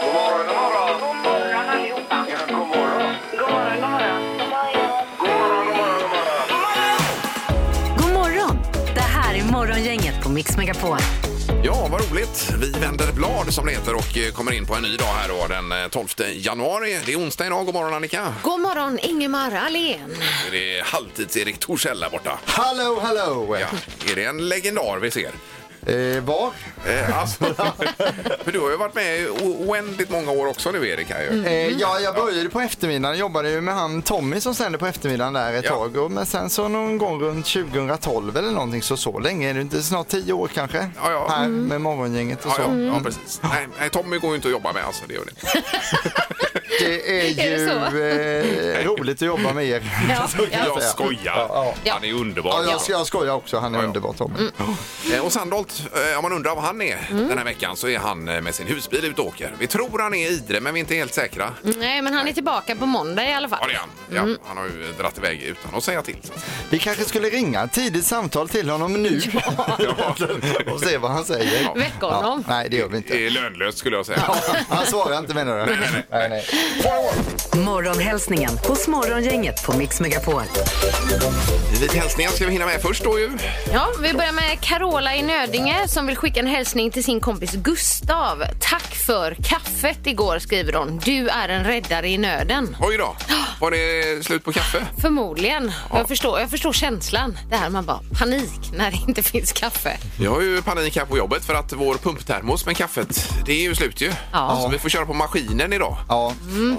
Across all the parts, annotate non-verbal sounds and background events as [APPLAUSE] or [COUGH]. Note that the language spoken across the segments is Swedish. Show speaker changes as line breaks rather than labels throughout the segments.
God morgon, god morgon. God morgon allihopa. Ja, god morgon. God morgon, god morgon. God morgon, god morgon, god morgon.
God morgon! Det här är Morgongänget på Mix Megapol.
Ja, vad roligt. Vi vänder blad som det heter och eh, kommer in på en ny dag här då, den eh, 12 januari. Det är onsdag idag. God morgon Annika.
God morgon, Ingemar Ahlén.
Det är halvtids-Erik Torssell där borta.
Hallå, hallå!
Ja, är det en legendar vi ser?
Eh, var?
Eh,
[LAUGHS]
alltså, för du har ju varit med i o- oändligt många år också nu Erik. Här, ju.
Eh, ja, jag började på eftermiddagen. Jobbade ju med han Tommy som sände på eftermiddagen där ett
Ja.
tag. Och, men sen så någon gång runt 2012 eller någonting så så länge är det inte. Snart tio år kanske.
Ja, ja. Mm.
Här med morgongänget och
Ja,
så.
ja, ja, precis. Nej, nej, Tommy går ju inte att jobba med alltså, det gör
[LAUGHS]
det inte. [LAUGHS]
Det är
Är det
ju eh, roligt att jobba med er.
Ja,
Jag skojar.
Ja, ja.
Han är underbar.
Ja, jag, ska- jag skojar också. Han är
Ja, ja.
underbar Tommy.
Eh, Och Sandholt, eh, om man undrar vad han är
Mm.
den här veckan så är han eh, med sin husbil ute och åker. Vi tror han är i Idre men vi är inte helt säkra.
Nej, men han är tillbaka på måndag i alla
Ja,
fall.
det är han. Ja, Han har ju dratt iväg utan att säga till. så att säga.
[LAUGHS] Vi kanske skulle ringa ett tidigt samtal till honom
[LAUGHS]
nu och se vad han säger.
Väck honom.
Nej, det gör vi inte.
Det är lönlöst skulle jag säga.
Han svarar inte menar du?
nej, nej.
nej.
Morgonhälsningen hos Morgongänget på Mix Megapol.
Lite hälsningar ska vi hinna med först då ju.
Ja, vi börjar med Carola i Nödinge som vill skicka en hälsning till sin kompis Gustav. Tack för kaffet igår, skriver hon. Du är en räddare i nöden.
Oj då, var det slut på kaffe?
Förmodligen. Jag, förstår, jag förstår känslan. Det här man bara panik när det inte finns kaffe.
Jag har ju panik här på jobbet för att vår pumptermos med kaffet, det är ju slut ju.
Ja.
Så vi får köra på maskinen idag.
Ja,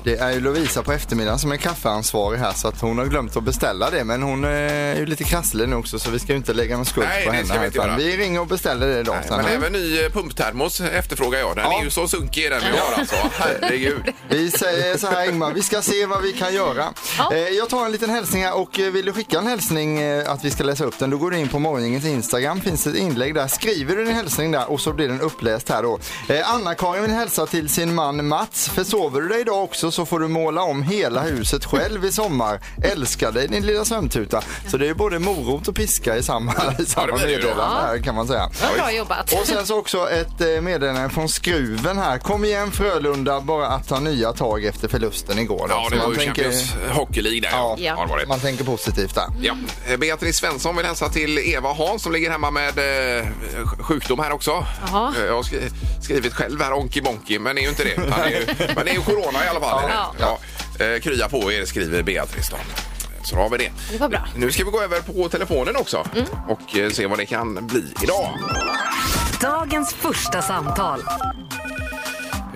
det är ju Lovisa på eftermiddagen som är kaffeansvarig här så att hon har glömt att beställa det men hon eh, är ju lite krasslig nu också så vi ska ju inte lägga någon skuld
Nej,
på
det
henne.
ska vi
här,
inte
utan
göra.
vi ringer och beställer det idag.
Nej,
sen
men
här.
även ny eh, pumptermos efterfrågar jag. Den
Ja.
är ju så sunkig den vi har
[LAUGHS]
alltså. Herregud.
Vi säger så här Ingmar, vi ska se vad vi kan göra.
Ja.
Eh, jag tar en liten hälsning här och eh, vill du skicka en hälsning eh, att vi ska läsa upp den, då går du in på morgoningens Instagram, finns ett inlägg där, skriver du din hälsning där och så blir den uppläst här då. Eh, Anna-Karin vill hälsa till sin man Mats, försover du dig idag också så får du måla om hela huset själv i sommar. Älskar dig din lilla sömntuta. Så det är ju både morot och piska i samma, i samma
blir det ju.
meddelande här kan man säga.
Det var Bra jobbat.
Och sen så också ett eh, meddelande från skruven här. Kom igen Frölunda, bara att ta nya tag efter förlusten igår. då.
Ja,
Så
det var
man
ju Champions Hockey League där.
Ja.
Har det varit.
Man tänker positivt där.
Ja. Eh, Beatrice Svensson vill hälsa till Eva Hahn som ligger hemma med eh, sjukdom här också.
Jaha.
Eh, Jag har skri- skrivit själv här onky bonky, men det är ju inte det. Utan
[LAUGHS]
det är ju, men det är ju corona i alla fall.
Ja.
Ja. Eh, Krya på er, skriver Beatrice. Då. Så då har vi det.
Det var bra. Mm.
Nu ska vi gå över på telefonen också och eh, se vad det kan bli idag.
Dagens första samtal.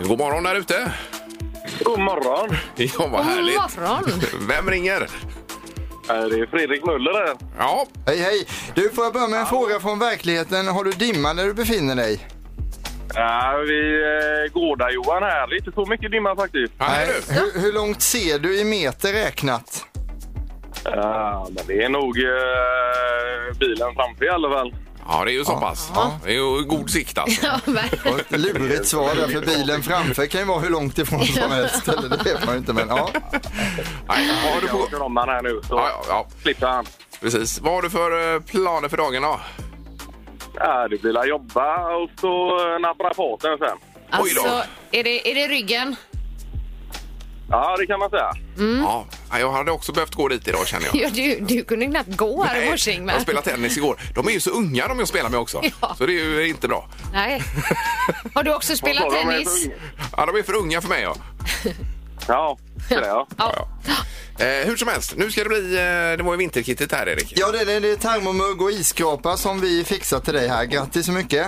God morgon där ute. [LAUGHS]
God morgon.
Ja, vad
God
härligt. [LAUGHS]
morgon.
Vem ringer?
Eh, Det är Fredrik Möller här.
Ja,
Hej hej! Du, får jag börja med en fråga från verkligheten. Har du dimma där du befinner dig?
Ja, vi eh, gårdar Johan här. Lite för mycket dimma faktiskt.
här är du.
Hur, hur långt ser du i meter räknat?
Ja, men det är nog eh, bilen framför i alla fall.
Ja, det är ju så pass. Det är ju god sikt alltså.
[LAUGHS] Ja, verkligen.
Och ett lurigt svar där, för bilen framför kan ju vara hur långt ifrån som helst. Eller det vet man ju inte, men ja.
Nej, vad har du på...
Jag kör om han här nu så
Ja, ja, ja,
slipper han.
precis. Vad har du för eh, planer för dagen då?
Ja, det blir att jobba och så eh, naprapaten sen.
Oj då.
Alltså, är det, är det ryggen?
Ja, det kan man säga.
Ja, nej, jag hade också behövt gå dit idag
[LAUGHS]
känner jag.
Ja, du, du kunde knappt gå här i morse,
Nej,
Ingmar.
jag spelade tennis igår. De är ju så unga de jag spelar med också.
Ja.
Så det är ju inte bra. [LAUGHS]
Nej. Har du också spelat
Vad sa de?
tennis?
Ja, de är för unga för mig ja.
Ja, det är jag.
[LAUGHS] Ja.
Eh, hur som helst, nu ska det bli... Eh, det var ju vinterkittet här Erik.
Ja, det, det, det är termomugg och isskrapa som vi fixar till dig här. Grattis så mycket!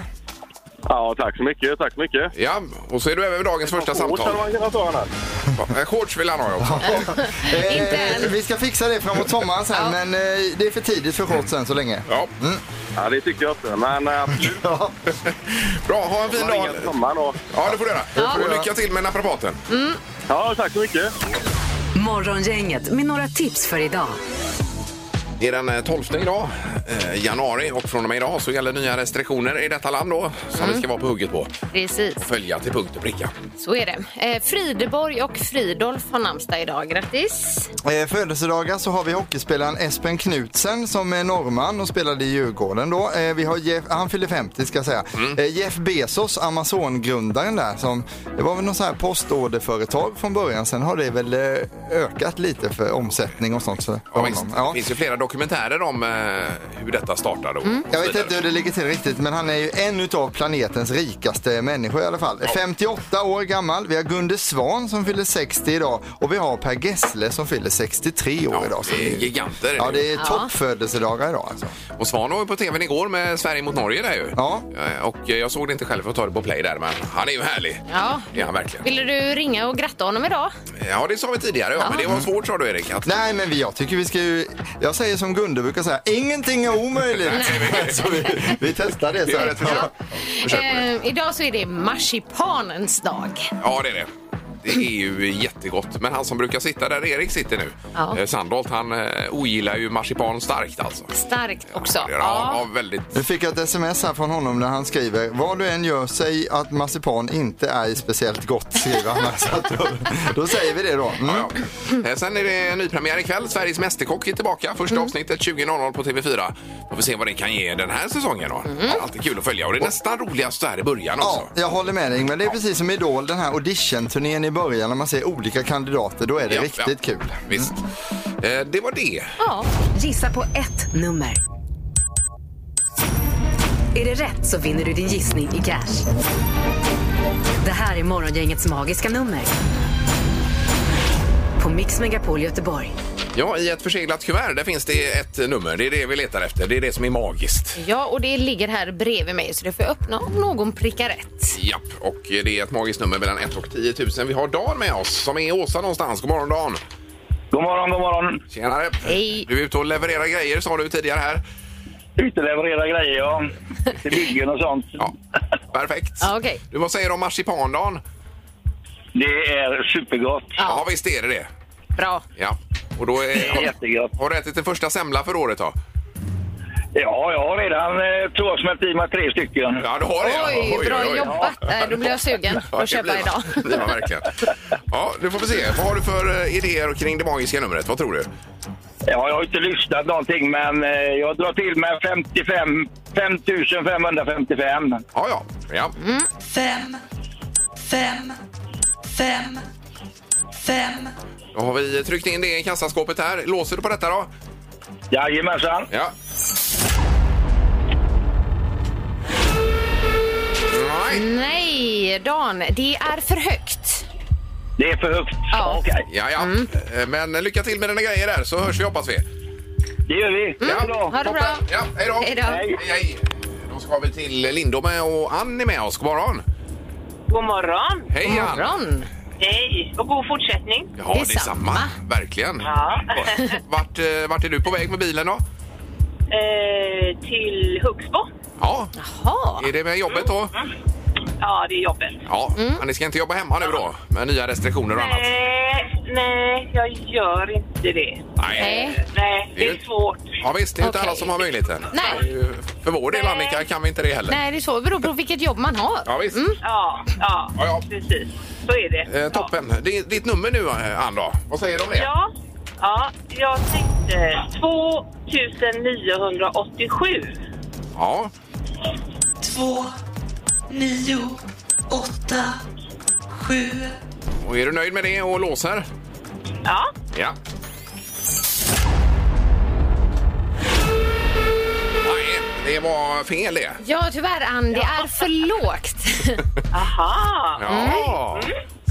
Ja, tack så mycket. Tack så mycket.
Ja, och så är du även med dagens första
Hårt hade
samtal.
man kunnat ta den här.
Eh, Shorts vill han ha också.
Eh,
Inte än.
Vi ska fixa det framåt sommaren sen, men eh, det är för tidigt för shorts än så länge.
Ja,
Ja, det tyckte jag inte.
[LAUGHS]
Men eh, absolut,
Ja.
bra. Ha en fin
man
dag.
ringer till sommaren och...
Ja, det får du göra. Och lycka till med naprapaten.
Ja, tack så mycket.
Morgongänget med några tips för idag.
Det är den eh, 12 idag, eh, januari, och från och med idag så gäller nya restriktioner i detta land då, som vi ska vara på hugget på.
Precis,
Följa till punkt och pricka.
så är det. Eh, Frideborg och Fridolf har namnsdag idag. Grattis!
Eh, födelsedagar så har vi hockeyspelaren Espen Knutsen som är norrman och spelade i Djurgården då. Eh, vi har Jeff, han fyller 50 ska jag säga.
Mm.
Eh, Jeff Bezos, Amazon-grundaren där som, det var väl någon sån här postorderföretag från början. Sen har det väl eh, ökat lite för omsättning och sånt. För
Ja,
honom.
visst.
Ja.
Det finns ju flera dokumentärer om eh, hur detta startade. Och och
Mm. Jag
så
vet
vidare.
inte hur det ligger till riktigt, men han är ju en utav planetens rikaste människor i alla fall. 58 år gammal. Vi har Gunde Svan som fyller 60 idag och vi har Per Gessle som fyller 63 år
Ja,
idag. Så
det är
ju-
giganter.
Ja, det är
Ja.
toppfödelsedagar idag alltså.
Och Svan var ju på tvn igår med Sverige mot Norge där ju.
Ja.
Eh, Och eh, jag såg det inte själv för att ta det på play där, men han är ju härlig.
Ja.
Det är han verkligen.
Ville du ringa och gratta honom idag?
Ja, det sa vi tidigare, ja. men det var svårt sa du Erik. Att...
Nej, men vi- jag tycker vi ska ju... Jag säger som Gunde brukar säga, ingenting är omöjligt. [LAUGHS] så vi, vi testar det
Gör ett
sen.
försök. Försök på det.
Eh, idag så är det marsipanens dag.
Ja, det är det. Det är ju jättegott. Men han som brukar sitta där Erik sitter nu,
Ja.
eh, Sandholt, han eh, ogillar ju marsipan starkt alltså.
Starkt också.
Ja, det gör han. Han
Ja.
var väldigt...
Nu fick jag ett sms här från honom där han skriver Vad du än gör, säg att marsipan inte är speciellt gott, skriver han. här. [LAUGHS] Så att då, då säger vi det då. Mm.
Ja. Eh, Sen är det nypremiär ikväll. Sveriges Mästerkock är tillbaka. Första
Mm.
avsnittet 20.00 på TV4. Får vi se vad det kan ge den här säsongen. Då. Alltid kul att följa. Och det är nästan roligast så här i början
Mm. Ja,
också.
jag håller med dig. Men det är precis som Idol, den här auditionturnén i början när man ser olika kandidater, då är det
Ja,
riktigt
ja.
kul. Mm.
Visst. Eh, Det var det.
Ja.
Gissa på ett nummer. Är det rätt så vinner du din gissning i cash. Det här är Morgongängets magiska nummer. På Mix Megapol Göteborg.
Ja, i ett förseglat kuvert där finns det ett nummer. Det är det vi letar efter. Det är det som är magiskt.
ja, och det ligger här bredvid mig så det får jag öppna om någon prickar rätt.
Japp, och det är ett magiskt nummer mellan 1 och 10 000. Vi har Dan med oss som är i Åsa någonstans. God morgon Dan!
God morgon, god morgon.
Tjenare!
Hej.
Du är ute och levererar grejer sa du tidigare här.
Uteleverera grejer, ja. Till byggen och sånt.
Ja, perfekt.
Ja, okej.
Du, vad säger du om marsipan Dan?
Det är supergott.
Ja. visst är det det.
Bra.
Ja. Och då är,
Det är jättegott.
har du ätit din första semla för året då?
Ja, jag har redan eh, tvåsmält i mig tre stycken.
Ja, du har det. ja.
Oj, bra
oj, oj.
jobbat. Äh, Då blir jag sugen
Ja, det
att köpa
blir
idag.
man. Det blir man verkligen. Ja, nu får vi se. Vad har du för eh, idéer kring det magiska numret? Vad tror du?
Ja, jag har inte lyssnat någonting, men eh, jag drar till med 55, 5555.
Ja, ja. ja.
Mm.
Fem, fem, fem, fem.
Då har vi tryckt in det i kassaskåpet här. Låser du på detta då?
Jajamensan.
Ja. Nej.
Nej, Dan, det är för högt.
Det är för högt.
Ja.
Okej,
Ja, ja.
Mm.
Eh, Men lycka till med dina grejer där så hörs vi hoppas vi.
det gör vi.
Ja.
Mm. Ha det bra.
Ja, hej då.
Hej då.
Hej.
Hej, hej. Då ska vi till Lindome och Ann är med oss. God morgon.
God morgon!
Hej
God morgon.
Hej! Och god fortsättning!
Ja,
Detsamma.
detsamma. Verkligen.
Ja.
[LAUGHS] Vart, eh, vart är du på väg med bilen då?
Eh, till Huxbo.
Ja,
Ha.
är det med jobbet då?
Mm.
Ja, det är jobbet.
Ja, men ni ska inte jobba hemma nu då med nya restriktioner och annat?
Nej, Eh, nej, jag gör inte det.
Nej.
Nej, det är svårt.
Ja, visst, det är inte
Okej.
alla som har möjligheten.
Nej.
Det är ju- För vår del, Annika, kan vi inte det heller.
Nej, Mm. det är så. Det beror på vilket jobb man har.
Ja, visst.
Ja, ja,
Ja, ja.
precis. Så är det.
Eh, toppen. Det är ditt nummer nu, eh, Ann, då. Vad säger du om det?
Ja. ja, jag tänkte 2987.
Ja.
Två, nio, åtta, sju.
Och är du nöjd med det och låser?
Ja,
Ja. Nej, det var fel det.
Ja, tyvärr, Ann. Det är för [LAUGHS] lågt.
aha.
Ja.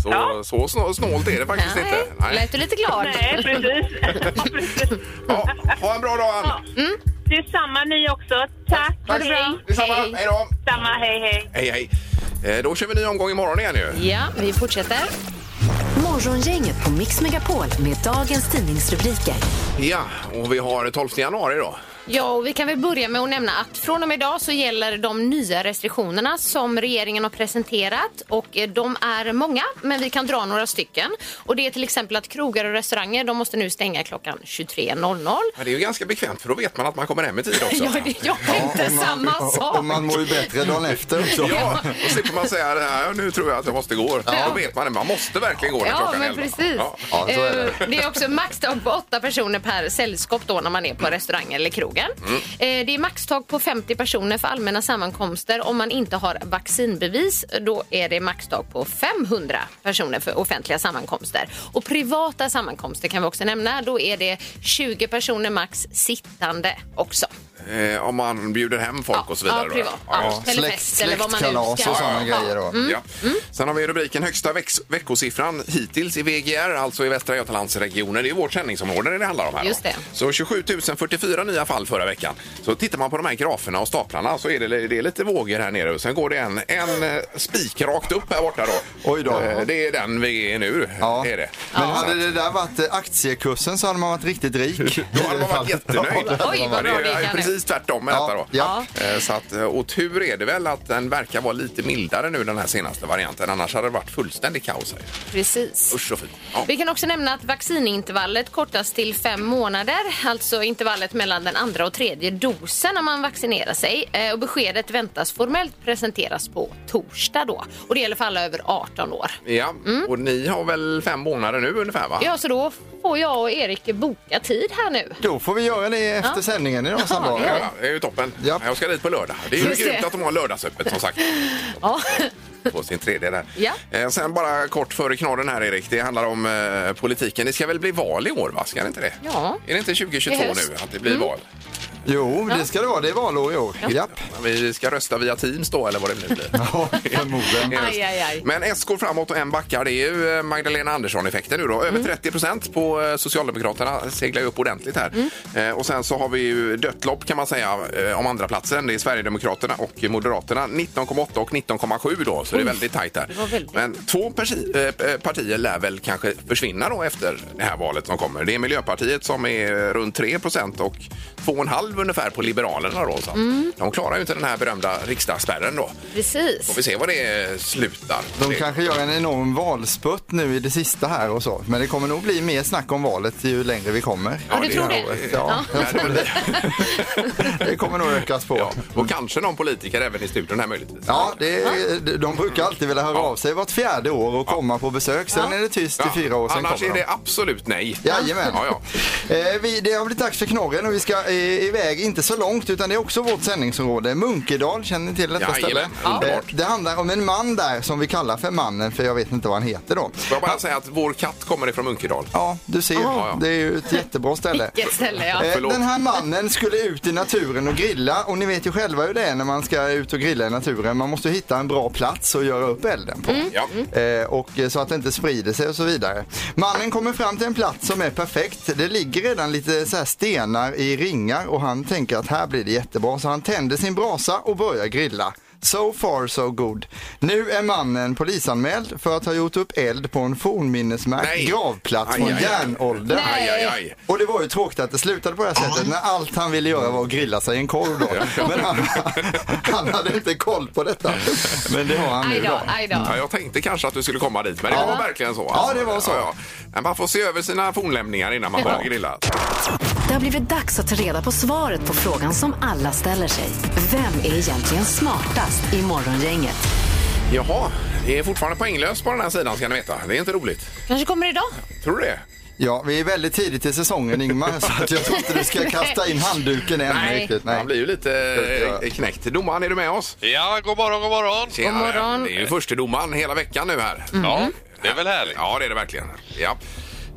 Så,
Ja.
så snå- snålt är det faktiskt
Nej,
inte.
lät du lite glad?
[LAUGHS]
Nej, precis. Ja, precis.
Ja, ha en bra dag, Ann.
Det är samma ni också. Tack.
Ha det bra.
Detsamma.
Hej.
Hej då.
Samma, hej hej.
Hej, hej. Eh, Då kör vi ny omgång imorgon igen ju.
Ja, vi fortsätter.
Morgongänget på Mix Megapol med dagens tidningsrubriker.
Ja, och vi har 12 januari då.
Ja, och vi kan väl börja med att nämna att från och med idag så gäller de nya restriktionerna som regeringen har presenterat och eh, de är många, men vi kan dra några stycken. Och det är till exempel att krogar och restauranger, de måste nu stänga klockan 23.00.
Men det är ju ganska bekvämt för då vet man att man kommer hem i tid också.
Ja, det jag är inte samma sak.
Och man mår ju bättre dagen efter också.
Ja, och slipper man säga det här, "Ja, nu tror jag att jag måste gå. Då vet man det, man måste verkligen gå när
Ja,
klockan är
men
elva.
precis.
Ja.
Ja, så är det.
Eh, det är också maxtag på åtta personer per sällskap då när man är
Mm.
på restaurang eller krogen. Eh, Det är maxtag på 50 personer för allmänna sammankomster. Om man inte har vaccinbevis då är det maxtag på 500 personer för offentliga sammankomster. Och privata sammankomster kan vi också nämna. Då är det 20 personer max sittande också.
Eh, om man bjuder hem folk och så vidare.
ja,
då,
privat.
Ja,
Ja, eller fest eller vad man nu
släktkalas
ska. Mm.
och sådana
Ja.
grejer. Då.
Ja. Sen har vi rubriken högsta vex- veckosiffran hittills i VGR, alltså i Västra Götalandsregionen. Det är ju vårt sändningsområde det handlar om. Här,
Just
va?
det.
Så 27 044 nya fall förra veckan. Så tittar man på de här graferna och staplarna så är det, det är lite vågor här nere. Och Sen går det en, en eh, spik rakt upp här borta då.
Oj då.
Eh, Det är den vi är nu.
Ja.
Är det.
Men hade det där varit eh, aktiekursen så hade man varit riktigt rik.
[LAUGHS] Då hade man
[LAUGHS]
[LAUGHS]
varit jättenöjd.
Oj, vad bra
det
det
är ju
kan
precis tvärtom med
Ja,
detta då.
ja.
Eh, Så att, eh, och tur är det väl att den verkar vara lite mildare nu den här senaste varianten. Annars hade det varit fullständigt kaos här.
Precis.
Usch och fy. Ja.
Vi kan också nämna att vaccinintervallet kortas till fem månader, alltså intervallet mellan den andra och tredje dosen när man vaccinerar sig. Eh, Och beskedet väntas formellt presenteras på torsdag då. Och det gäller för alla över 18 år.
Ja, och ni har väl fem månader nu ungefär va?
Mm. Ja, så då får jag och Erik boka tid här nu.
Då får vi göra det efter
Ja.
sändningen idag,
Ja,
Sandra.
det gör
Ja, det är ju toppen.
Ja.
Jag ska dit på lördag. Det är ju
Just det.
grymt att de har lördagsöppet som
[LAUGHS]
sagt.
Ja.
På sin tredje där.
Ja.
Eh, Sen bara kort före knorren här Erik. Det handlar om eh, politiken. Det ska väl bli val i år va? Ska det inte det?
Ja.
Är det inte 2022
I höst.
nu att det blir val?
Jo, det ska det vara. Det är valår i år. Japp.
Vi ska rösta via Teams då eller vad det nu blir.
Ja, förmodligen.
Aj, aj, aj.
Men S går framåt och en backar. Det är ju eh, Magdalena Andersson-effekten nu då. Över
Mm.
30 procent på eh, Socialdemokraterna seglar ju upp ordentligt här.
Mm.
Eh, Och sen så har vi ju dött lopp kan man säga eh, om andra platsen. Det är Sverigedemokraterna och Moderaterna. 19,8 och 19,7 då, så det är väldigt tajt där.
var väldigt.
Men två persi- eh, eh, partier lär väl kanske försvinna då efter det här valet som kommer. Det är Miljöpartiet som är runt 3 procent och 2,5 ungefär på Liberalerna då. Så att
Mm.
De klarar ju inte den här berömda riksdagsspärren då. Får
Precis.
vi se var det slutar.
De
Det-
kanske gör en enorm valsputt nu i det sista här och så. Men det kommer nog bli mer snack om valet ju längre vi kommer.
Ja, du tror
här
det?
året.
[LAUGHS]
Ja,
Ja, det blir-
det kommer nog ökas
[LAUGHS]
på.
ja. Och kanske någon politiker även i studion här möjligtvis.
Ja, det, de brukar alltid vilja höra av sig vart fjärde år och komma på besök. Sen är det tyst i
Ja,
fyra år, sen
Annars
kommer
är
de.
det absolut nej.
Jajamän.
Ja, ja.
Eh, vi, det har blivit dags för knorren och vi ska eh, iväg, inte så långt utan det är också vårt sändningsområde. Munkedal, känner ni till detta ställe?
Jajamän, underbart.
Eh, det handlar om en man där som vi kallar för mannen för jag vet inte vad han heter då.
Får jag bara säga att vår katt kommer ifrån Munkedal.
Ja, du ser.
Ja, ja.
Det är ju ett
[LAUGHS]
jättebra ställe.
Vilket ställe, ja.
Eh,
Förlåt.
Den här mannen skulle ut i naturen och grilla och ni vet ju själva hur det är när man ska ut och grilla i naturen. Man måste hitta en bra plats att göra upp elden på.
Ja.
Eh, och eh, så att det inte sprider sig och så vidare. Mannen kommer fram till en plats som är perfekt. Det ligger redan lite så här stenar i ringar och han tänker att här blir det jättebra. Så han tänder sin brasa och börjar grilla. So far so good. Nu är mannen polisanmäld för att ha gjort upp eld på en fornminnesmärkt
Nej.
gravplats
Aj,
från
aj, aj.
järnåldern.
Aj, aj, aj.
Och det var ju tråkigt att det slutade på det här sättet när allt han ville göra var att grilla sig en korv då. Men han, [LAUGHS] han hade inte koll på detta. Men det har han nu
Aj då,
då.
aj då.
Ja, jag tänkte kanske att du skulle komma dit, men det
Ja.
var verkligen så.
Ja, det var så.
Men Man får se över sina fornlämningar innan man börjar grilla.
Det har blivit dags att ta reda på svaret på frågan som alla ställer sig. Vem är egentligen smartast i Morgongänget?
Jaha, det är fortfarande poänglöst på den här sidan ska ni veta. Det är inte roligt.
Kanske kommer idag.
Tror du det?
Ja, vi är väldigt tidigt i säsongen Ingmar så att jag tror inte du
[LAUGHS]
ska kasta in handduken än
Nej.
riktigt.
Han blir ju lite eh, knäckt. Domaren, är du med oss?
Ja, god morgon, god morgon.
Tjenare.
God morgon.
Det är ju förste domaren hela veckan nu här.
Ja, det är väl härligt.
Ja, det är det verkligen. Ja.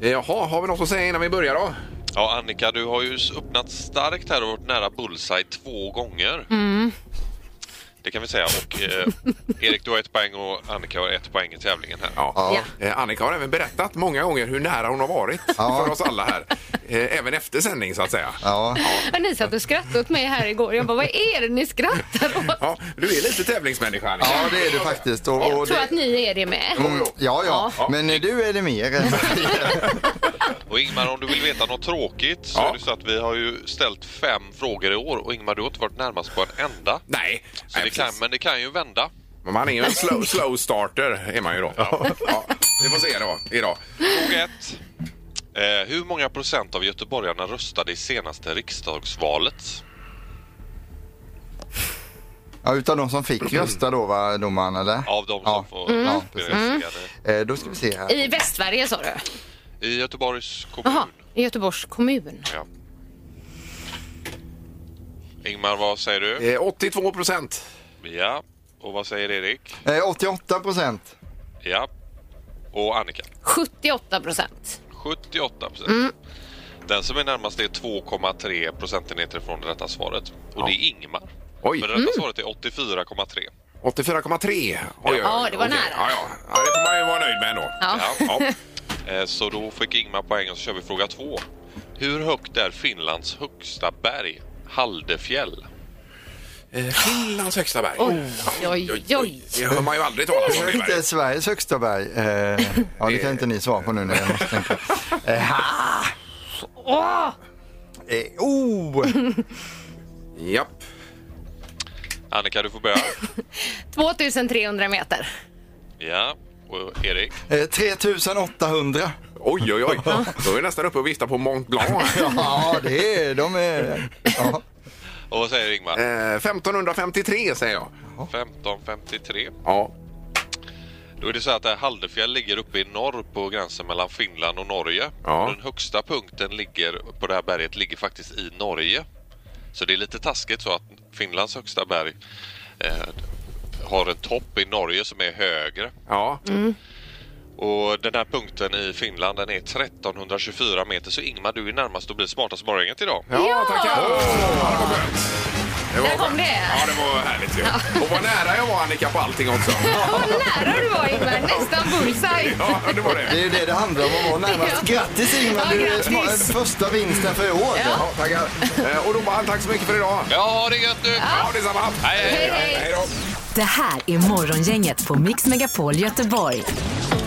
Eh, Jaha, har vi något att säga innan vi börjar då?
Ja, Annika, du har ju öppnat starkt här och varit nära bullseye två gånger. Det kan vi säga. Och eh, Erik, du har ett poäng och Annika har ett poäng i tävlingen här.
Ja.
Ja.
Eh, Annika har även berättat många gånger hur nära hon har varit
Ja.
för oss alla här. eh, även efter sändning så att säga.
Ja.
Men ni satt och skrattade åt mig här igår. Jag bara, vad är det ni skrattar åt?
Ja, du är lite tävlingsmänniska. Annika.
ja, det är det faktiskt. Och,
Jag
och
tror
det...
att ni är det med.
Mm, Ja, ja, men eh, du är det mer.
[LAUGHS]
Och Ingmar, om du vill veta något tråkigt så
Ja.
är det så att vi har ju ställt fem frågor i år och Ingmar, du har inte varit närmast på en enda.
Nej,
Så
nej
det kan,
precis.
men det kan ju vända.
Men man är ju en slow, slow starter är man ju då. Ja. Vi får se då, idag.
Fråga ett. Eh, hur många procent av göteborgarna röstade i senaste riksdagsvalet?
Ja, utav de som fick rösta då, va, domaren? Eller?
Av de som
ja.
får
Mm.
Ja,
bli
precis.
berättigade.
Eh, Då ska vi se här.
I Västsverige sa du?
I Göteborgs kommun.
Jaha, i Göteborgs kommun.
Ja. Ingmar, vad säger du?
Eh, 82 procent.
Ja. Och vad säger Erik?
Eh, 88 procent.
Ja. Och Annika?
78 procent.
78 procent.
Mm.
Den som är närmast är 2,3 procentenheter från det rätta svaret. Och det är Ingmar.
Oj.
Men det rätta
Mm.
svaret är 84,3.
84,3. Oj, oj,
Ja,
oj.
det var
Okej.
nära.
Ja, ja. ja, det får man ju vara nöjd med ändå.
Ja. [LAUGHS]
Ja.
Eh, Så då fick Ingmar poäng och så kör vi fråga två. Hur högt är Finlands högsta berg? Haldefjäll.
Eh, Finlands högsta berg.
Oj, oj, oj.
Det hör man ju aldrig talas om. det
Det är inte
berget.
Sveriges högsta berg. Eh, ja, det kan inte ni svara på nu när jag måste tänka. Eh, ha! Eh, oh!
Japp.
Annika, du
[LAUGHS]
får börja.
2300 meter.
Ja. Och Erik?
Eh, 3800.
Oj, oj, oj. Då är vi nästan uppe och viftar på Mont Blanc.
Ja, det är de. Är, ja.
Och vad säger Ingmar?
Eh, 1553 säger jag.
1553.
Ja.
Då är det så att det här Haldefjäll ligger uppe i norr på gränsen mellan Finland och Norge.
Ja.
Och den högsta punkten ligger på det här berget ligger faktiskt i Norge. Så det är lite taskigt så att Finlands högsta berg eh, har en topp i Norge som är högre.
Ja.
Och den här punkten i Finland den är 1324 meter så Ingmar du är närmast att bli smartast i morgongänget idag.
Ja, tackar. Ja, det var skönt. Det var
Där kom
skönt.
det.
Ja, det var härligt ju. Och vad nära jag var Annika på allting också.
Vad nära du var Ingmar, nästan bullseye.
Ja, det var det.
Det är ju det det handlar om att vara närmast. Grattis Ingmar,
Ja,
du är
grattis.
snarare första vinsten för i år.
Ja, tackar. Eh, Och domaren, tack så mycket för idag.
Ja, ha det gött nu!
Ja, detsamma.
Hej, hej.
då.
Det här är Morgongänget på Mix Megapol Göteborg.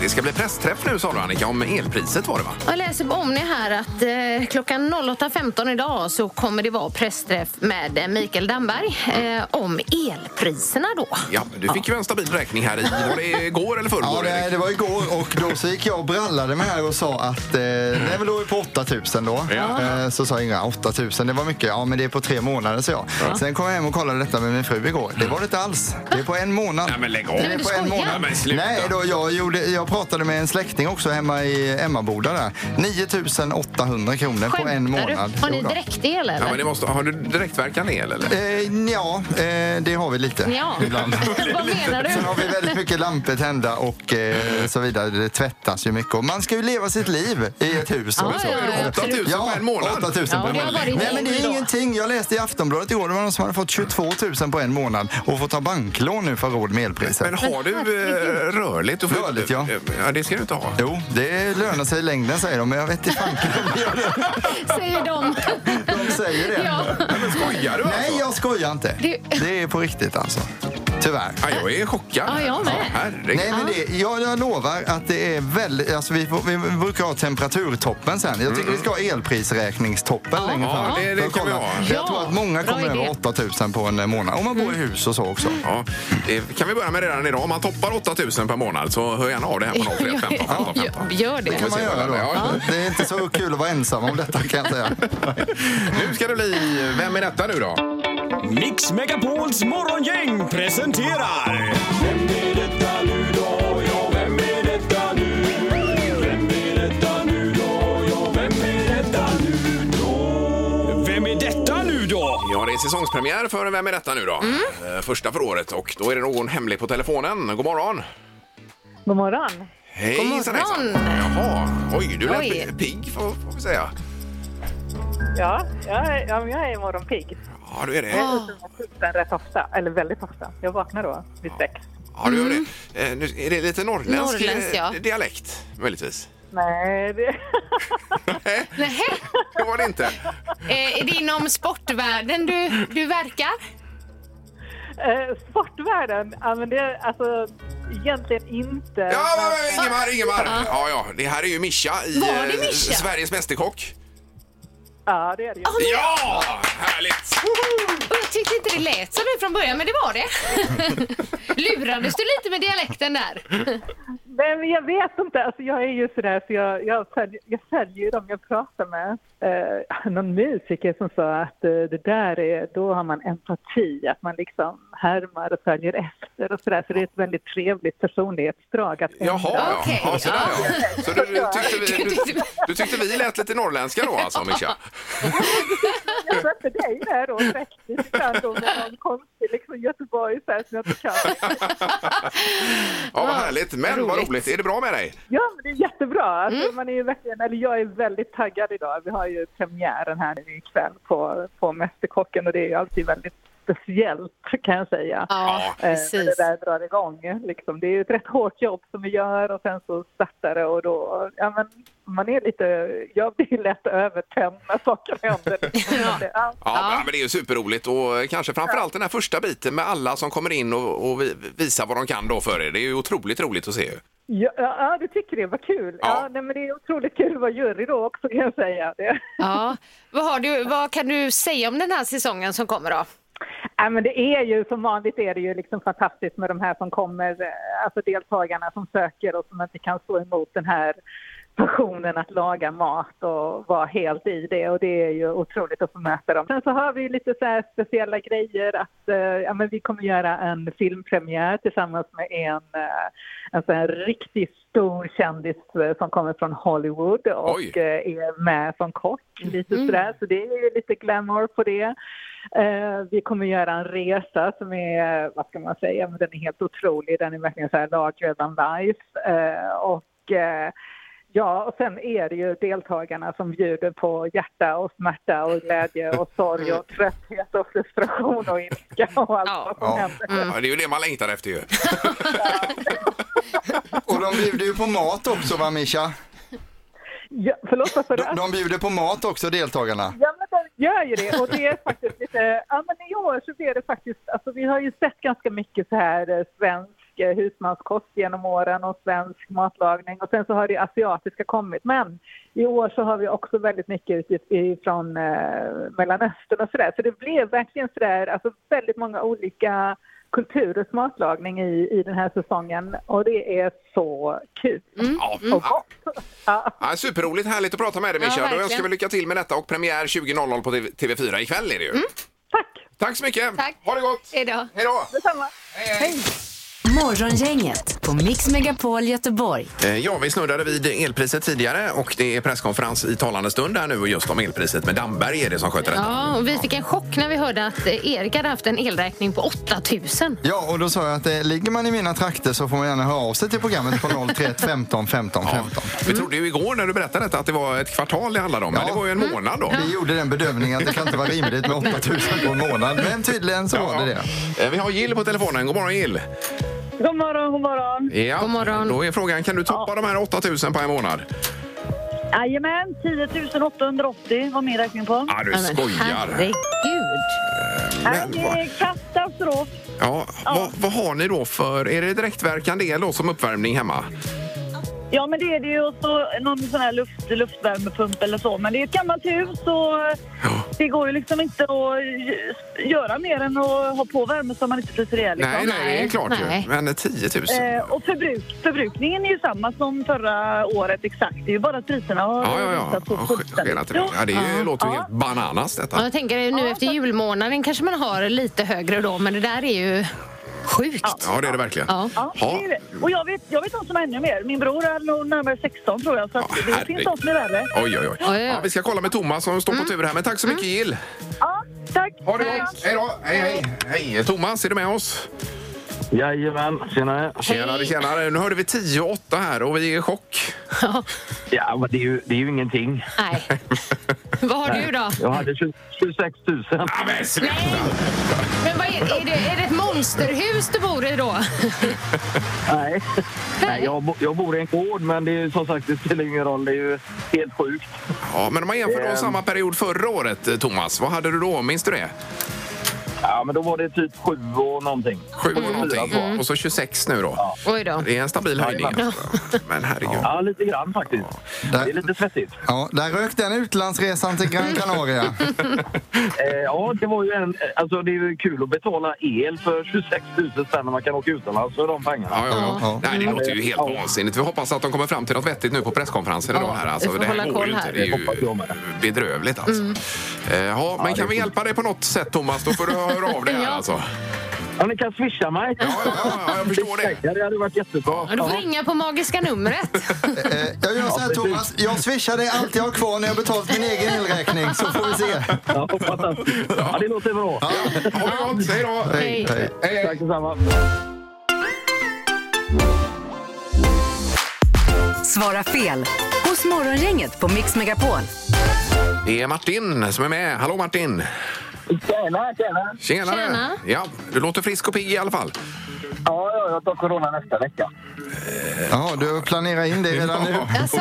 Det ska bli pressträff nu sa du Annika, om elpriset var det va?
Jag läser om ni här att eh, klockan 08.15 idag så kommer det vara pressträff med eh, Mikael Damberg eh, om elpriserna då.
Ja, du fick ju en stabil räkning här i, var det igår eller
Ja,
förrgår?
det, liksom?
Erik?
det var igår och då så gick jag och brallade med här och sa att eh, nej, men då är vi på 8000 då.
Ja.
Eh, så sa Inga 8000, det var mycket. Ja, men det är på tre månader, så jag. Sen kom jag hem och kollade detta med min fru igår. Det var det inte alls. Det är på en månad.
Nej, men lägg av.
Det
Nej,
är
men
på
du
en
skojar.
månad.
Nej, men sluta.
Nej, då, jag, gjorde, jag pratade med en släkting också hemma i Emmaboda där. 9800 kronor på en
du?
månad.
Har ni
Jo då.
direktel eller?
Ja, men det måste, har du direktverkande el eller?
Eh, ja, eh, det har vi lite.
Ja.
[LAUGHS]
Ibland.
[LAUGHS] Vad menar
Sen har
du?
vi väldigt mycket lampor tända och eh, så vidare. Det tvättas ju mycket. Och man ska ju leva sitt liv i ett hus.
Ja,
och så.
ja, ja, absolut.
8000 på en månad?
8000
Ja,
på en
det har
månad.
varit
Nej, men det är
då.
ingenting. Jag läste i Aftonbladet igår, det var någon som hade fått 22 000 på en månad och får ta banklån nu för att ha råd med elpriset.
Men har du eh, rörligt? Och
Rörligt, ja.
ja. Det ska du inte ha.
Jo, det lönar sig i längden säger de, men jag vet inte fanken om det gör det.
Säger de.
De säger det.
[LAUGHS] ja.
Skojar du alltså?
Nej, jag skojar inte.
Det-
Det är på riktigt alltså. Tyvärr.
Ja, jag är chockad.
Ja, jag med.
herregud.
Nej, men det, jag, jag lovar att det är väldigt... Alltså vi, får- vi brukar ha temperaturtoppen sen. Jag tycker vi ska ha elprisräkningstoppen längre
Ja,
fram.
det- det
För att
kan vi
kolla.
ha.
För Jag tror att många
Bra
kommer
idé.
över 8000 på en eh, månad. Om man bor i
Mm.
hus och så också.
Ja, det kan vi börja med redan idag. Om man toppar 8000 per månad så hör gärna av det här på 031 15 15 15.
Gör
Det
det.
kan man göra då.
Ja.
Det är inte så kul att vara ensam om detta kan jag säga.
Nu ska det bli... Vem är detta nu då?
Mix Megapols morgongäng presenterar... Vem är detta nu då? Ja, vem är detta nu? Vem är detta nu då? Ja, vem är detta nu då? Vem är detta nu då?
Ja, det är säsongspremiär för Vem är detta nu då?
Mm.
Eh, Första för året och då är det någon hemlig på telefonen. God morgon!
God morgon.
Hej,
God morgon.
Jaha, oj, du lät
Oj.
pi- pigg får, får vi säga.
Ja, jag, ja, men jag är morgonpigg.
Ja, du är det.
Ah.
Den rätt ofta, eller väldigt ofta. Jag vaknar då vid sex.
Ja, du gör det. Eh, nu, är det lite norrländsk,
Norrländsk,
eh,
ja.
dialekt möjligtvis?
Nej, det... [LAUGHS]
Nej.
Det var det inte.
Eh, är det inom sportvärlden du, du verkar?
Eh, sportvärlden, ja, men det är alltså egentligen inte...
Ja, men, men, Ingemar, Ingemar! Ja, ja, det här är ju Mischa i
Var det
eh,
Mischa?
Sveriges Mästerkock.
Ja, det är det ju.
Ja! Härligt!
Och jag tyckte inte det lät som det från början, men det var det. [LAUGHS] Lurades du lite med dialekten där?
Nej, men jag vet inte. Alltså, jag är ju sådär, så jag, jag, följer, jag följer ju dem jag pratar med. Eh, någon musiker som sa att eh, det där är, då har man empati, att man liksom härmar och följer efter och sådär. Så det är ett väldigt trevligt personlighetsdrag att
Jaha, ja. ja, så där, ja. Så du, du, tyckte vi,
Du tyckte
du, du tyckte vi lät lite norrländska då alltså, Mischa?
Jag mötte dig där då, präktigt ibland då med någon konstig liksom Göteborg så här, som jag inte kan.
Ja, vad härligt. Men vad
roligt.
roligt. Är det bra med dig?
Ja, men det är jättebra. Alltså,
Mm.
man är ju verkligen, eller jag är väldigt taggad idag. Vi har ju premiären här nu ikväll på, på Mästerkocken och det är ju alltid väldigt speciellt kan jag säga.
Ja,
Eh, när
precis.
Det där drar igång. Liksom. Det är ju ett rätt hårt jobb som vi gör och sen så startar det och då, ja men man är lite, jag blir ju lätt övertänd när saker händer.
[LAUGHS]
Ja.
Ja, Men det är ju superroligt och kanske framförallt den här första biten med alla som kommer in och, och vi- visar vad de kan då för er. Det är ju otroligt roligt att se. ju.
Ja, ja, ja, du tycker det, vad kul. Ja. nej, men det är otroligt kul att vara jury då också kan jag säga. Det.
Ja. Vad, har du, vad kan du säga om den här säsongen som kommer då?
Ja, men det är ju som vanligt är det ju liksom fantastiskt med de här som kommer, eh, alltså deltagarna som söker och som inte kan stå emot den här passionen att laga mat och vara helt i det och det är ju otroligt att få möta dem. Sen så har vi ju lite så här speciella grejer att eh, ja, men vi kommer göra en filmpremiär tillsammans med en, eh, en sån här riktigt stor kändis eh, som kommer från Hollywood och
Oj.
eh, är med som kock lite
Mhm.
sådär så det är ju lite glamour på det. Eh, vi kommer göra en resa som är, vad ska man säga, men den är helt otrolig. Den är verkligen så här larger than life. Eh, och, eh, ja, och sen är det ju deltagarna som bjuder på hjärta och smärta och glädje och sorg och trötthet och frustration och ilska och allt vad som händer.
Ja, det är ju det man längtar efter ju.
Och de bjuder ju på mat också va Mischa?
Ja, förlåt, vad
de, de bjuder på mat också deltagarna.
Ja, men den gör ju det. Och det är faktiskt lite, ja men i år så blir det faktiskt, alltså vi har ju sett ganska mycket så här eh, svensk eh, husmanskost genom åren och svensk matlagning och sen så har det asiatiska kommit. Men i år så har vi också väldigt mycket utifrån eh, Mellanöstern och sådär. Så det blev verkligen sådär, alltså väldigt många olika kulturers matlagning i, i den här säsongen och det är så kul.
Ja,
Och gott.
Ja, superroligt, härligt att prata med dig
Ja,
Mischa. Då
verkligen.
önskar vi lycka till med detta och premiär 20.00 på TV4 ikväll är det ju.
Tack!
Tack så mycket! Tack. Ha det gott!
Hej då!
Hej då!
Detsamma!
Morgongänget på Mix Megapol Göteborg.
Eh, Ja, vi snuddade vid elpriset tidigare och det är presskonferens i talande stund här nu och just om elpriset med Damberg är det som sköter detta.
Ja, och vi fick en chock när vi hörde att eh, Erik hade haft en elräkning på 8000.
Ja, och då sa jag att eh, ligger man i mina trakter så får man gärna höra av sig till programmet på 031 15 15 15.
Vi trodde ju igår när du berättade detta att det var ett kvartal det handlade om, men det var ju en månad då.
Vi gjorde den bedömningen att det kan inte vara rimligt med 8000 på en månad, men tydligen så var det det.
Eh, Vi har Jill på telefonen. God morgon Jill!
God morgon, god morgon.
Ja, Då är frågan, kan du toppa de här 8000 på en månad?
Jajamän, 10 880 var min räkning på.
Ja, du Ja, men skojar. herregud.
Nej, Äh, det är katastrof.
Ja, Vad, vad har ni då för... Är det direktverkande el då som uppvärmning hemma?
Ja, men det är det ju. Och så någon sån här luft, luftvärmepump eller så. Men det är ett gammalt hus och det går ju liksom inte att gö- göra mer än att ha på värme så man inte fryser ihjäl. liksom.
Nej, nej, det är klart ju. Men 10 000?
Eh, och förbruk, förbrukningen är ju samma som förra året exakt. Det är ju bara att priserna har
Ja, ja, ja.
rusat på
Sk- skenat iväg. Ja, det är ju, låter ju helt bananas
Ja,
detta.
jag tänker eh, nu efter julmånaden kanske man har lite högre då, men det där är ju sjukt.
Ja, det är det verkligen.
Ja.
Ja, det är det. Och jag vet, jag vet någon som är ännu mer. Min bror är nog närmare 16 tror jag. Så att det finns något som är värre.
Oj, oj, oj. Ja, Mm. vi ska kolla med Thomas som står på tur här. Men tack så mycket, Jill.
Ja, tack.
Ha det gott. Hej då. Hej, hej. Hej, Thomas, är du med oss?
Jajamän, tjenare.
Tjenare, tjenare. Nu hörde vi 10 och 8 här och vi är i chock.
Ja, men det är ju, det är ju ingenting.
Nej.
[LAUGHS]
Vad har
Nej.
du då?
Jag hade 20 26 000.
Ja, men sluta!
Men vad är, är, det, är det ett monsterhus du bor i då?
Nej, Nej jag, bo, jag bor i en gård men det är ju som sagt, det spelar ingen roll. Det är ju helt sjukt.
Ja, men om man jämför
Ehm.
då samma period förra året, eh, Thomas, vad hade du då? Minns du det?
Ja, men då var det typ sju och någonting.
Sju och någonting.
Mm.
Och så 26 nu då.
Oj då.
Det är en stabil höjning. alltså. Men herregud.
Ja, lite grann faktiskt. Det är lite svettigt.
Ja, där rök den utlandsresan till Gran
[LAUGHS]
Canaria.
Eh, ja, det var ju en... Alltså det är ju kul att betala el för 26 000 spänn när man kan åka utomlands för de pengarna.
Ja, ja, ja. Nej, det låter ju helt vansinnigt. Vi hoppas att de kommer fram till något vettigt nu på presskonferensen idag. Här, alltså.
vi får
Det
hålla
här går
koll
ju inte.
här. Mm.
Det är ju bedrövligt alltså. Eh, Ja,
det
men kan
är
vi hjälpa dig på något sätt, Thomas? Då får du höra av dig här alltså.
Ja, ni kan swisha mig. Ja,
jag förstår
det. Det hade varit jättebra.
Du får ringa på magiska numret.
[LAUGHS]
Eh, Jag gör så här Thomas, jag swishar dig allt jag har kvar när jag har betalat min egen elräkning så får vi se.
Ja, ja det låter bra.
Ja.
Ha det gott, hej då!
Hej. Hej.
Tack detsamma.
Svara fel hos Morgongänget på Mix Megapol.
Det är Martin som är med. Hallå Martin!
Tjena, tjena.
Tjena!
Tjena.
Ja, du låter frisk och pigg i alla fall.
Ja, ja, jag tar corona nästa vecka.
Jaha, du planerar in det redan nu?
Alltså.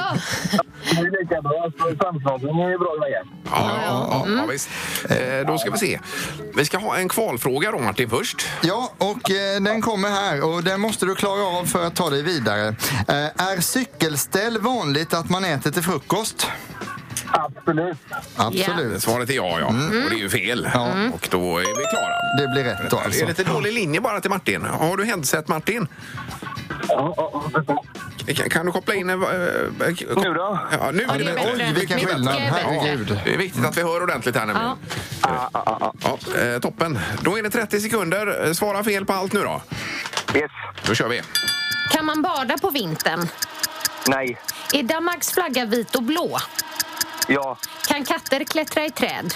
Det är lika bra. så Samslagen är ju bra grejer.
Ja, ja, Mm. ja, ja visst. Eh, då ska vi se. Vi ska ha en kvalfråga då Martin först.
Ja, och eh, den kommer här och den måste du klara av för att ta dig vidare. Eh, är cykelställ vanligt att man äter till frukost?
Absolut.
Absolut.
Svaret är ja, ja.
Mm.
Och det är ju fel. Och då är vi klara.
Det blir rätt då
Det
alltså.
är lite dålig linje bara till Martin. Har du headset Martin? Kan, kan du koppla in... Nu då? Ja, nu
Ja,
är det
det
bättre.
är bättre. Oj, vilken
Mycket
skillnad.
bättre.
Herregud.
Ja, Det är viktigt att vi hör ordentligt här nämligen. Ja. eh, toppen. Då är det 30 sekunder. Eh, Svara fel på allt nu då. Yes. Då kör vi.
Kan man bada på vintern?
Nej.
Är Danmarks flagga vit och blå?
Ja.
Kan katter klättra i träd?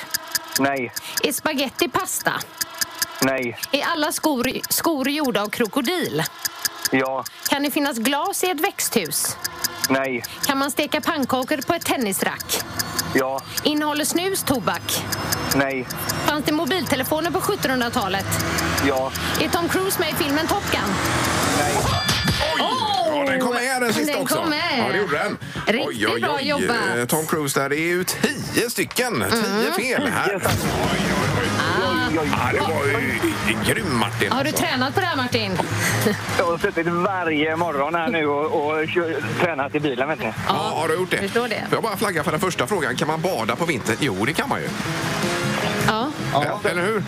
Nej.
Är spaghetti pasta?
Nej.
Är alla skor, skor gjorda av krokodil?
Ja.
Kan det finnas glas i ett växthus?
Nej.
Kan man steka pannkakor på ett tennisrack?
Ja.
Innehåller snus tobak?
Nej.
Fanns det mobiltelefoner på 1700-talet?
Ja.
Är Tom Cruise med i filmen Top Gun?
Ja, den kom med den sista
Oh, Den
också.
kom med.
Ja, det gjorde den.
Riktigt bra jobbat.
Eh, Tom Cruise där, det är ju tio stycken. Tio fel här. Oj, oj, oj. Ja, det var ju grym Martin. alltså.
Har du tränat på det här Martin?
Jag har suttit varje morgon här nu och, och kö- tränat i bilen. Vet ni.
Ja, har du gjort det?
Förstår det.
Får jag bara flagga för den första frågan? Kan man bada på vintern? Jo, det kan man ju.
Ja.
Ja. Eller hur?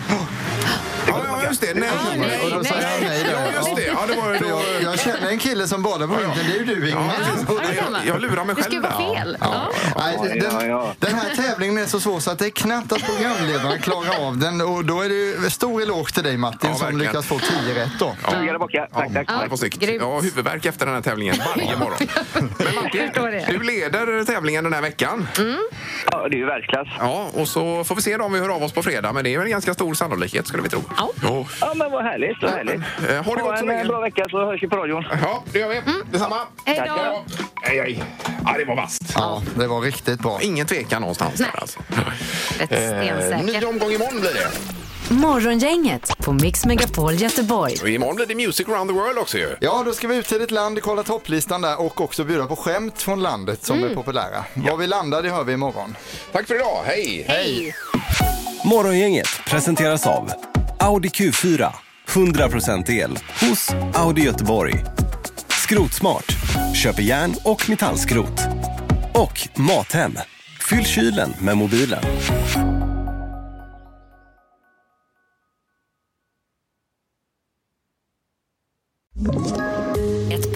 Ja, ja just det. Nej.
nej, Och då säger han nej där.
Ja, just det. Ja, det var ju
För
då...
jag, jag känner en kille som badar på vintern, det är ju du Ingmar.
jag, jag lurar mig
Det
själv.
skulle vara
där.
fel.
Ja. Nej, den, den här tävlingen är så svår så att det är knappt att programledarna klarar av den och då är det ju stor eloge till dig Martin som
verkligen.
lyckas få 10 rätt då.
Ja.
Tuggar och bockar. Tack, tack.
Ja, det var snyggt. Jag har huvudvärk efter den här tävlingen varje morgon.
[LAUGHS]
Men Martin, du leder tävlingen den här veckan.
Mm.
Ja, det är ju världsklass.
Ja, och så får vi se då om vi hör av oss på fredag, men det är väl ganska stor sannolikhet skulle vi tro. Ja.
Ja, men vad härligt. Vad härligt.
Eh, Ha det gott så
en eh,
länge.
bra vecka så hörs vi på radion.
Ja, det gör vi. Detsamma.
Mm. Hej
Tack,
då.
Hej, hej. Ja, det var vasst.
Ja, det var riktigt bra.
Ingen tvekan någonstans där alltså.
Rätt
Eh,
stensäker.
ny omgång imorgon blir det.
Morgongänget på Mix Megapol Göteborg.
Och imorgon blir det Music around the world också ju.
Ja, då ska vi ut till ditt land, kolla topplistan där och också bjuda på skämt från landet som är populära. Var vi landar, det hör vi imorgon.
Tack för idag. Hej!
Hej!
Morgongänget presenteras av Audi Q4. 100% el hos Audi Göteborg. Skrotsmart. Köper järn och metallskrot. Och Mathem. Fyll kylen med mobilen.
Ett